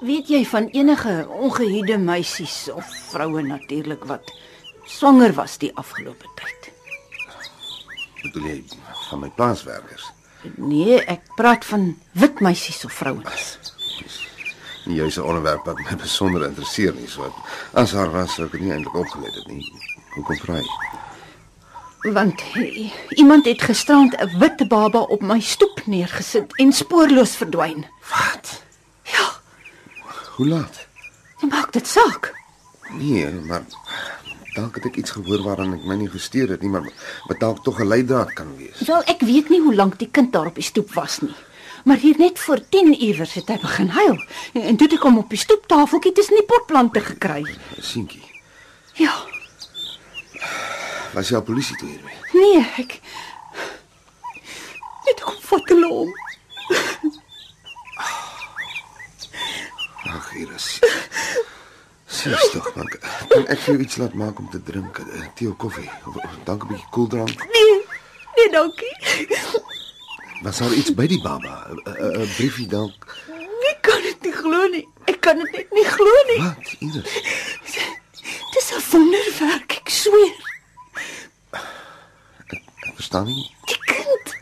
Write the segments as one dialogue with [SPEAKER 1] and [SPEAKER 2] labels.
[SPEAKER 1] Weet jy van enige ongehuide meisies of vroue natuurlik wat swanger was die afgelope tyd?
[SPEAKER 2] Bedoel jy van my plaaswerkers?
[SPEAKER 1] Nee, ek praat van wit meisies of vrouens.
[SPEAKER 2] Nie juis 'n onderwerp wat my besonder interesseer nie, so as haar was sou ek dit nie eintlik opgelet het nie. Hoekom vra jy?
[SPEAKER 1] Want hey, iemand het gisterand 'n wit baba op my stoep neergesit en spoorloos verdwyn.
[SPEAKER 2] Wat?
[SPEAKER 1] Ja,
[SPEAKER 2] Hoe laat?
[SPEAKER 1] dit maak dit saak.
[SPEAKER 2] Nee, maar dalk het ek iets gehoor waaraan ek my nie gesteer het nie, maar wat dalk tog 'n leidraad kan wees.
[SPEAKER 1] Wel, ek weet nie hoe lank die kind daar op die stoep was nie. Maar hier net voor 10 iewers het hy begin huil en, en toe het ek hom op die stoeptafeltjie tussen die potplante gekry.
[SPEAKER 2] Seentjie,
[SPEAKER 1] Ja,
[SPEAKER 2] was jy al polisie toe hiermee?
[SPEAKER 1] nee, ek net kom vat hulle om.
[SPEAKER 2] Ag, Iris. Sies tog, man. Kan ek vir jou iets laat maak om te drink? Eh, Tee of koffie? Of- of Dalk 'n bietjie koeldrank.
[SPEAKER 1] Nee. Nee, dankie.
[SPEAKER 2] Was daar iets by die baba? Eh, 'n- 'n- 'n Briefie dalk?
[SPEAKER 1] Ek kan dit nie glo nie. Ek kan dit net nie glo nie.
[SPEAKER 2] Wat, Iris?
[SPEAKER 1] Dis 'n wonderwerk, ek sweer.
[SPEAKER 2] Ek verstaan nie.
[SPEAKER 1] Die kind.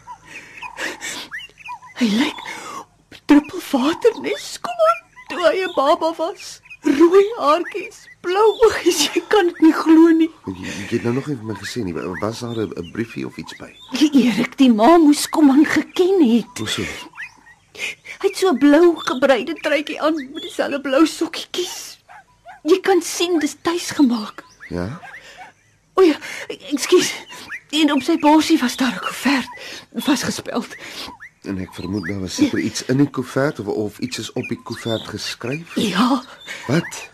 [SPEAKER 1] Hy lyk op 'n druppel water net skoon toe hy 'n baba was. Rooi haartjies, blou oogies, jy kan dit nie glo nie.
[SPEAKER 2] Jy, jy het nou nog nie vir my gesê nie. Was daar 'n 'n briefie of iets by?
[SPEAKER 1] Erik, die ma moes kom aan geken het.
[SPEAKER 2] Hoeso?
[SPEAKER 1] Hy het so 'n blou gebreide truitjie aan met dieselfde blou sokkies. Jy kan sien dis tuis gemaak.
[SPEAKER 2] Ja?
[SPEAKER 1] O ja, ekskuus. En op sy borsie was daar 'n koevert vasgespeld.
[SPEAKER 2] En ek vermoed daar was seker iets in die koevert of of iets is op die koevert geskryf.
[SPEAKER 1] Ja,
[SPEAKER 2] Wat?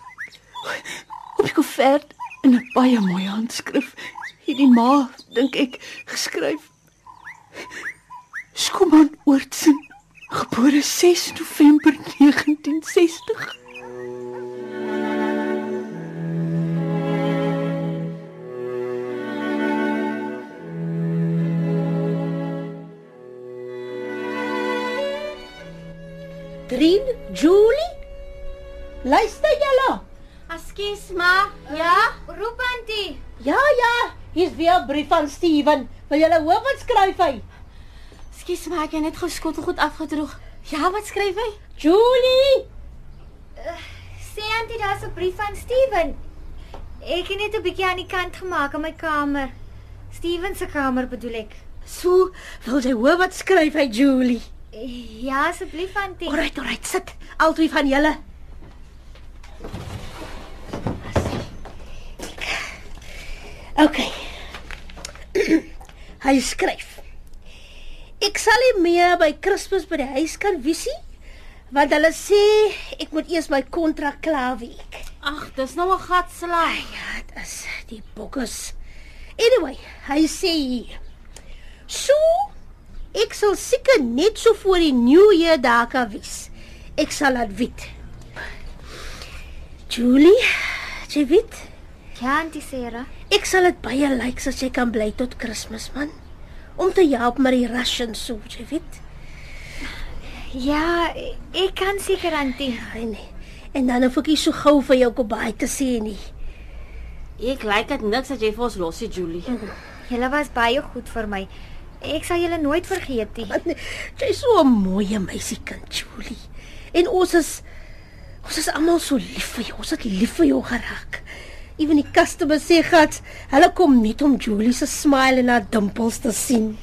[SPEAKER 1] op die koevert in 'n baie mooi handskrif het die ma, dink ek, geskryf. Skuman Oortsen, gebore 6 November 1960.
[SPEAKER 3] Trin, Julie? Luister julle.
[SPEAKER 4] Ekskuus ma,
[SPEAKER 3] Ja?
[SPEAKER 4] roep antie.
[SPEAKER 3] Ja ja, hier's weer 'n brief van Steven. Wil julle hoor wat skryf hy?
[SPEAKER 4] Ekskuus ma, ek het net gou skottelgoed afgedroog. Ja, wat skryf hy? Eh,
[SPEAKER 3] Julie,
[SPEAKER 4] Sê antie, daar's 'n brief van Steven. Ek het net 'n bietjie aan die kant gemaak in my kamer. Steven se kamer bedoel ek.
[SPEAKER 3] so wil jy hoor wat skryf hy Julie?
[SPEAKER 4] Ja, asseblief antie.
[SPEAKER 3] Alrite, alrite, sit. Albei van julle. OK. Hy skryf. Ek sal nie meer by Kersfees by die huis kan visie want hulle sê ek moet eers my kontrak klaar week.
[SPEAKER 4] Ag, dis nou 'n gat slaai.
[SPEAKER 3] Dit is die bokkes. Anyway, hy sê hier. So ek sal seker net so voor die nuwe jaar daar kan wees. Ek sal laat weet. Julie, jy weet,
[SPEAKER 4] Ja, antie Sarah.
[SPEAKER 3] ek sal dit baie lyk as jy kan bly tot Kersfees man. Om te help met die Russian so, jy weet.
[SPEAKER 4] Ja, e- ek kan seker antie.
[SPEAKER 3] En Ja, nee. en dan hoef ek nie so gou vir jou kobai te sê nie.
[SPEAKER 5] Ek lyk dit niks dat jy vir ons losie Julie.
[SPEAKER 4] Julle was baie goed vir my. Ek sal julle nooit vergeet nie.
[SPEAKER 3] Want jy's so 'n mooi meisiekind, Julie. En ons is ons is almal so lief vir jou. Ons het lief vir jou geraak. Ewen die customer sê gat, hulle kom net om Julie se smile en haar dimpels te sien.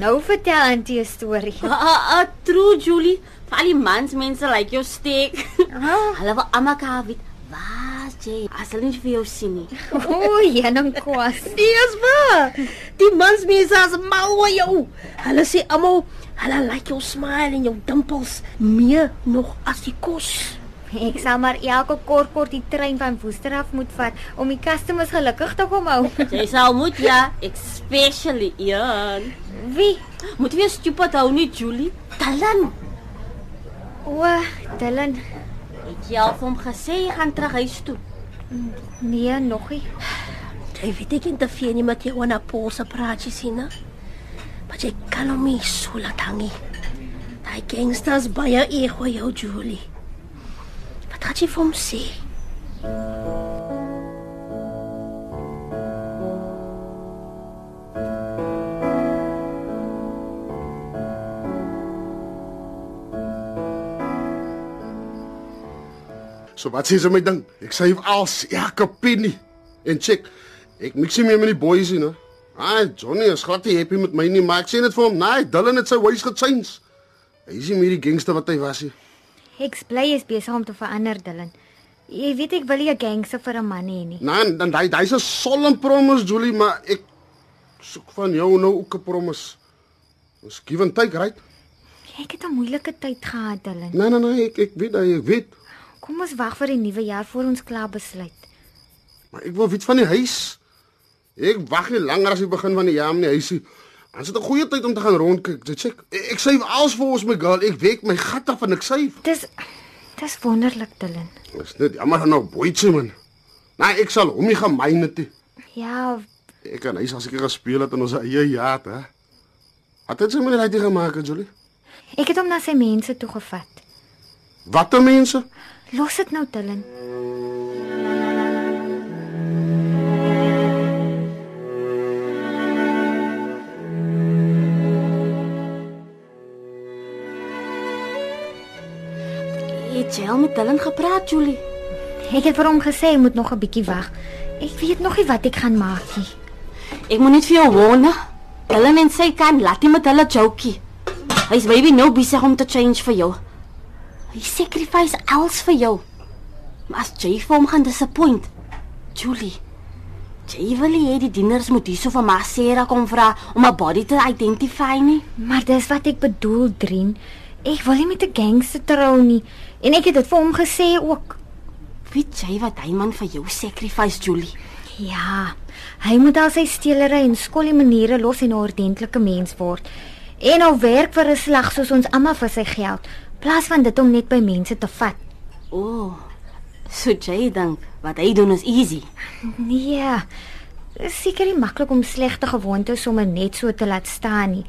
[SPEAKER 4] Nou vertel antie 'n storie.
[SPEAKER 5] Ah, ah, ah, true Julie. Vir al die mans mense lyk like jou steek.
[SPEAKER 4] Ah.
[SPEAKER 5] Hulle wil almekaar weet wat jy as hulle nie vir jou sien nie.
[SPEAKER 4] O, jenong kwas.
[SPEAKER 3] Dis Nee, waar. Die mansmense is mal oor jou. Hulle sê almal hulle like jou smile en jou dimpels meer nog as die kos.
[SPEAKER 4] Ek sal maar elke kort kort die trein van Woester af moet vat om die customers gelukkig te kom hou.
[SPEAKER 5] Jy sal moet ja, especially Ian.
[SPEAKER 4] Wie?
[SPEAKER 5] Moet jy stupid hou nie Julie.
[SPEAKER 3] Talan,
[SPEAKER 4] O, Dylan.
[SPEAKER 5] Het jy al vir hom gesê jy gaan terug huis toe?
[SPEAKER 4] Nee, nog nie.
[SPEAKER 3] jy weet ek het te veel nie met jou en haar polse praatjie sien, hè? Maar jy e kan hom nie so laat hang nie. Daai gangsters baie ego jou, Julie. gaan jy vir hom sê?
[SPEAKER 6] So wat sê jy my ding? Ek save als elke penny. En check, ek mix nie meer met die boys nie, no. Ah, Johnny is glad nie happy met my nie, maar ek sê net vir hom, nee, Dylan het sy wys gechanged. Hy is nie meer die gangster wat hy was nie.
[SPEAKER 4] Ek is bly jy is besig om te verander, Dylan. Jy weet ek wil nie 'n gangster vir 'n man hê nie.
[SPEAKER 6] Nee, dan hy hy's 'n solemn promise, Julie, maar ek soek van jou nou ook 'n promise. Ons give and take, right?
[SPEAKER 4] Ek het 'n moeilike tyd gehad, Dylan.
[SPEAKER 6] Nee nee nee, ek ek weet, hy- ek weet,
[SPEAKER 4] Kom ons wag vir die nuwe jaar voor ons klaar besluit.
[SPEAKER 6] maar ek wil weet van die huis. Ek wag nie langer as die begin van die jaar om die huis te Ons het 'n goeie tyd om te gaan rondkyk. Jy check. Ek, ek sê alles vir ons my girl. Ek wek my gat af en ek sê,
[SPEAKER 4] Dis dis wonderlik, Dylan.
[SPEAKER 6] "Is dit jammer nou boetjie man." Nee, ek sal hom nie gemyn het nie.
[SPEAKER 4] Ja,
[SPEAKER 6] Ek en hy sal seker gespeel het in ons eie jaar, hè. Wat het jy met hulle gemaak, Julie?
[SPEAKER 4] ek het hom na sy mense toe gevat.
[SPEAKER 6] Watter mense?
[SPEAKER 4] Los dit nou, Dylan.
[SPEAKER 5] Het jy al met Dylan gepraat, Julie?
[SPEAKER 4] Ek het vir hom gesê hy moet nog 'n bietjie wag. Ek weet nog nie wat ek gaan maak nie.
[SPEAKER 5] Ek moet net vir jou warn. Dylan en sy kan laat nie met hulle jokie. Hy's baby nou besig om te change vir jou. Hy sacrifice alles vir jou. Maar as jy vir hom gaan disappoint, Julie. Jy wil nie hê die dieners moet hierso van Masera kom vra om 'n body te identify nie.
[SPEAKER 4] Maar dis wat ek bedoel, Drien. Ek wil nie met 'n gangster trou nie en ek het dit vir hom gesê ook.
[SPEAKER 5] Weet jy wat hy man vir jou sacrifice, Julie?
[SPEAKER 4] Ja, hy moet al sy steelery en skollie maniere los en 'n ordentlike mens word. En nou werk vir 'n slag soos ons almal vir sy geld, plaas van dit om net by mense te vat.
[SPEAKER 5] O. Oh, so jy dink wat hy doen is easy.
[SPEAKER 4] Nee. Dis seker nie maklik om slegte gewoontes sommer net so te laat staan nie.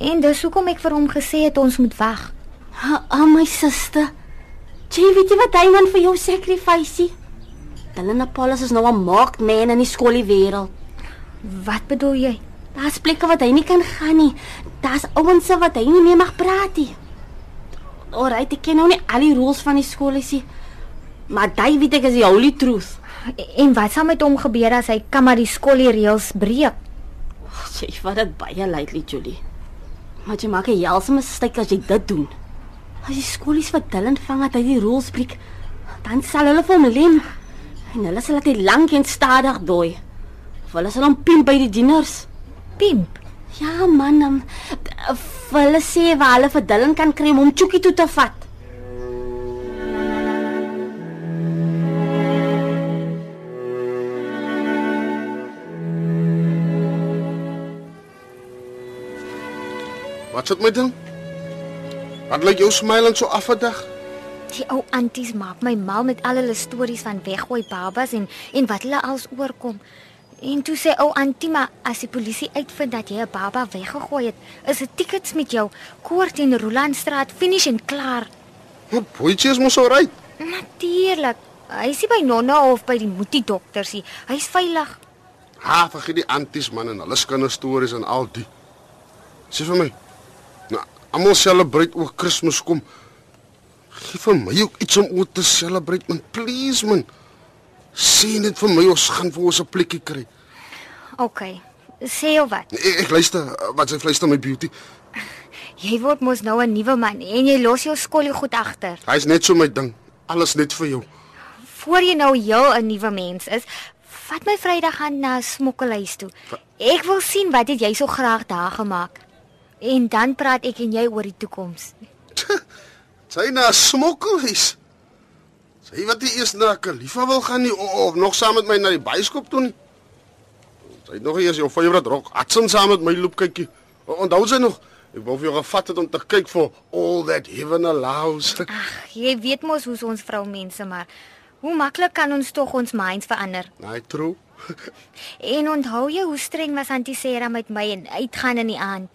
[SPEAKER 4] En dis hoekom ek vir hom gesê het ons moet wag.
[SPEAKER 5] Ah, ah, my suster. Jy weet jy wat hy man vir jou sacrifice? Helena Paulus is nou 'n marked man in die skoolie wêreld.
[SPEAKER 4] Wat bedoel jy?
[SPEAKER 5] Daar's plekke wat hy nie kan gaan nie. Daar's ouense wat hy nie mee mag praat nie. Alrite, ek ken nou nie al die rules van die skooliesie. Maar daai weet ek is die holy truth.
[SPEAKER 4] En wat sal met hom gebeur as hy kan maar die skollie reëls breek?
[SPEAKER 5] Jy vat dit baie lightly, Julie. Maar jy maak 'n helseme styk as jy dit doen. As die skoolies wat Dylan vang dat hy die rules breek, dan sal hulle vir hom lem. En hulle sal dit lank en stadig dooi. Of hulle sal hom pimp by die dieners.
[SPEAKER 4] Pimp.
[SPEAKER 5] Ja man, um, of hulle sê waar hulle vir Dylan kan kry om hom chookie toe te vat.
[SPEAKER 6] Wat sit my ding? Wat lyk jou smile en so af vandag?
[SPEAKER 4] Die ou anties maak my mal met al hulle stories van weggooi babas en en wat hulle als oorkom. En toe sê ou antie maar as die polisie uitvind dat jy 'n baba weggegooi het, is dit tickets met jou koort en Rolandstraat finish en klaar.
[SPEAKER 6] Maar boetjie Ja, is mos so right.
[SPEAKER 4] Natuurlik. Hy is nie by Nonna of by die moetie dokters nie. Hy's veilig.
[SPEAKER 6] Ha, vergeet die anties man en hulle skinde stories en al die. Sê vir my. Nou, almal celebrate oor Kersfees kom. Gee vir my ook iets om oor te celebrate man, please man. Sê net vir my ons gaan vir ons 'n plekkie kry.
[SPEAKER 4] OK. Sê jou wat.
[SPEAKER 6] Ek, ek luister eh, wat sy fluister my beauty.
[SPEAKER 4] Jy word mos nou 'n nuwe man en jy los jou skollie goed agter.
[SPEAKER 6] Hy's net so my ding. Alles net vir jou.
[SPEAKER 4] Voor jy nou heel 'n nuwe mens is, vat my Vrydag aan na 'n smokkelhuis toe. Ek wil sien wat het jy so graag daar gemaak. En dan praat ek en jy oor die toekoms.
[SPEAKER 6] Sy na smokkelhuis. Sy wat die eers na Khalifa wil gaan nie of, of nog saam met my na die bioskoop toe nie. Sy het nog nie eers jou favourite rok Hudson saam met my loop kykie. O- Onthou sy nog? Ek wou vir jou gevat het om te kyk vir all that heaven allows.
[SPEAKER 4] Ag, jy weet mos hoe ons vroumense maar hoe maklik kan ons tog ons minds verander?
[SPEAKER 6] Naai true.
[SPEAKER 4] En onthou jy hoe streng was Auntie Sarah met my en uitgaan in die aand?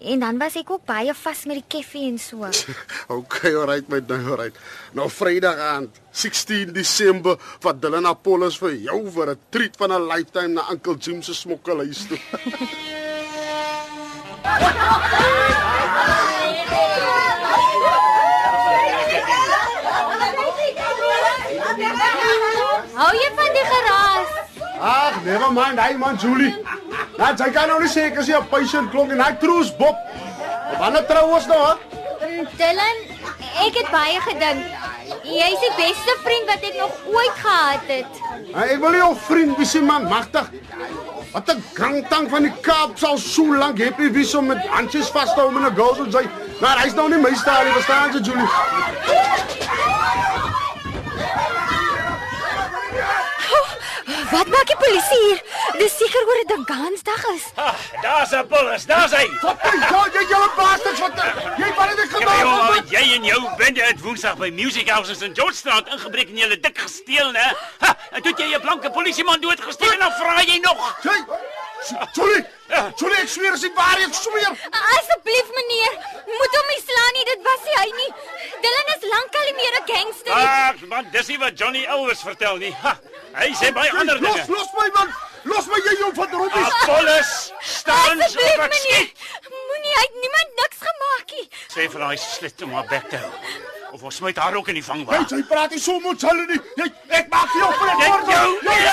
[SPEAKER 4] En dan was ek ook baie vas met die koffie en so.
[SPEAKER 6] Okay, alright my ding, alright. Nou Vrydag aand, 16 Desember, wat Dylan Apollos vir jou vir 'n treat van 'n lifetime na Uncle Jim se smokkelhuis toe.
[SPEAKER 5] Hou jy van die geraas?
[SPEAKER 6] Ag, never mind, hy man Julie. Nou, sy kan nou nie sê ek is 'n patient klonk en hy troos Bob. Wanneer trou ons nou? Hè?
[SPEAKER 7] Dylan, ek het baie gedink. Jy's die beste vriend wat ek nog ooit gehad het.
[SPEAKER 6] Hey, Ek wil jou vriend wees, man, magtig. Wat 'n kranktank van die Kaap sal so lank happy wees om met handjies vashou om 'n girl te sy. Maar hy's nou nie my staal nie, verstaan jy, Julie?
[SPEAKER 4] Wat maak die polisie hier? Dis seker oor 'n dingansdag is.
[SPEAKER 8] Daar's Apollos, daar's hy.
[SPEAKER 6] Wat jy jou jy jou bastards wat jy wat dit
[SPEAKER 8] Jy
[SPEAKER 6] gemaak het.
[SPEAKER 8] jy en jou bende het Woensdag by Music House in Georgestraat ingebreek en julle dik gesteel, né? Ha, en toe het jy 'n blanke polisieman doodgesteek en dan vra jy nog.
[SPEAKER 6] Jy Julie, Julie ek sweer as die waarheid, ek sweer.
[SPEAKER 7] Asseblief meneer, moet hom nie slaan nie, dit was nie hy nie. Dylan is lankal nie meer 'n gangster nie.
[SPEAKER 8] Ag, man, dis nie wat Johnny Elvis vertel nie. Ha, hy sê baie ander
[SPEAKER 6] Jy, Los
[SPEAKER 8] dinge.
[SPEAKER 6] los my man. Los my jy jou van Robbie.
[SPEAKER 8] Apollos, staan op
[SPEAKER 7] Asseblief
[SPEAKER 8] en
[SPEAKER 7] meneer,
[SPEAKER 8] skiet.
[SPEAKER 7] moenie hy het niemand niks gemaak nie.
[SPEAKER 8] Sê vir hy slit om haar bek te hou. Of ons smyt haar ook in die
[SPEAKER 6] Hey,
[SPEAKER 8] vangwa.
[SPEAKER 6] jy praat nie so met hulle nie. Jy ek maak jou vir 'n
[SPEAKER 8] Jy
[SPEAKER 6] kort.
[SPEAKER 8] jou.
[SPEAKER 7] Nee!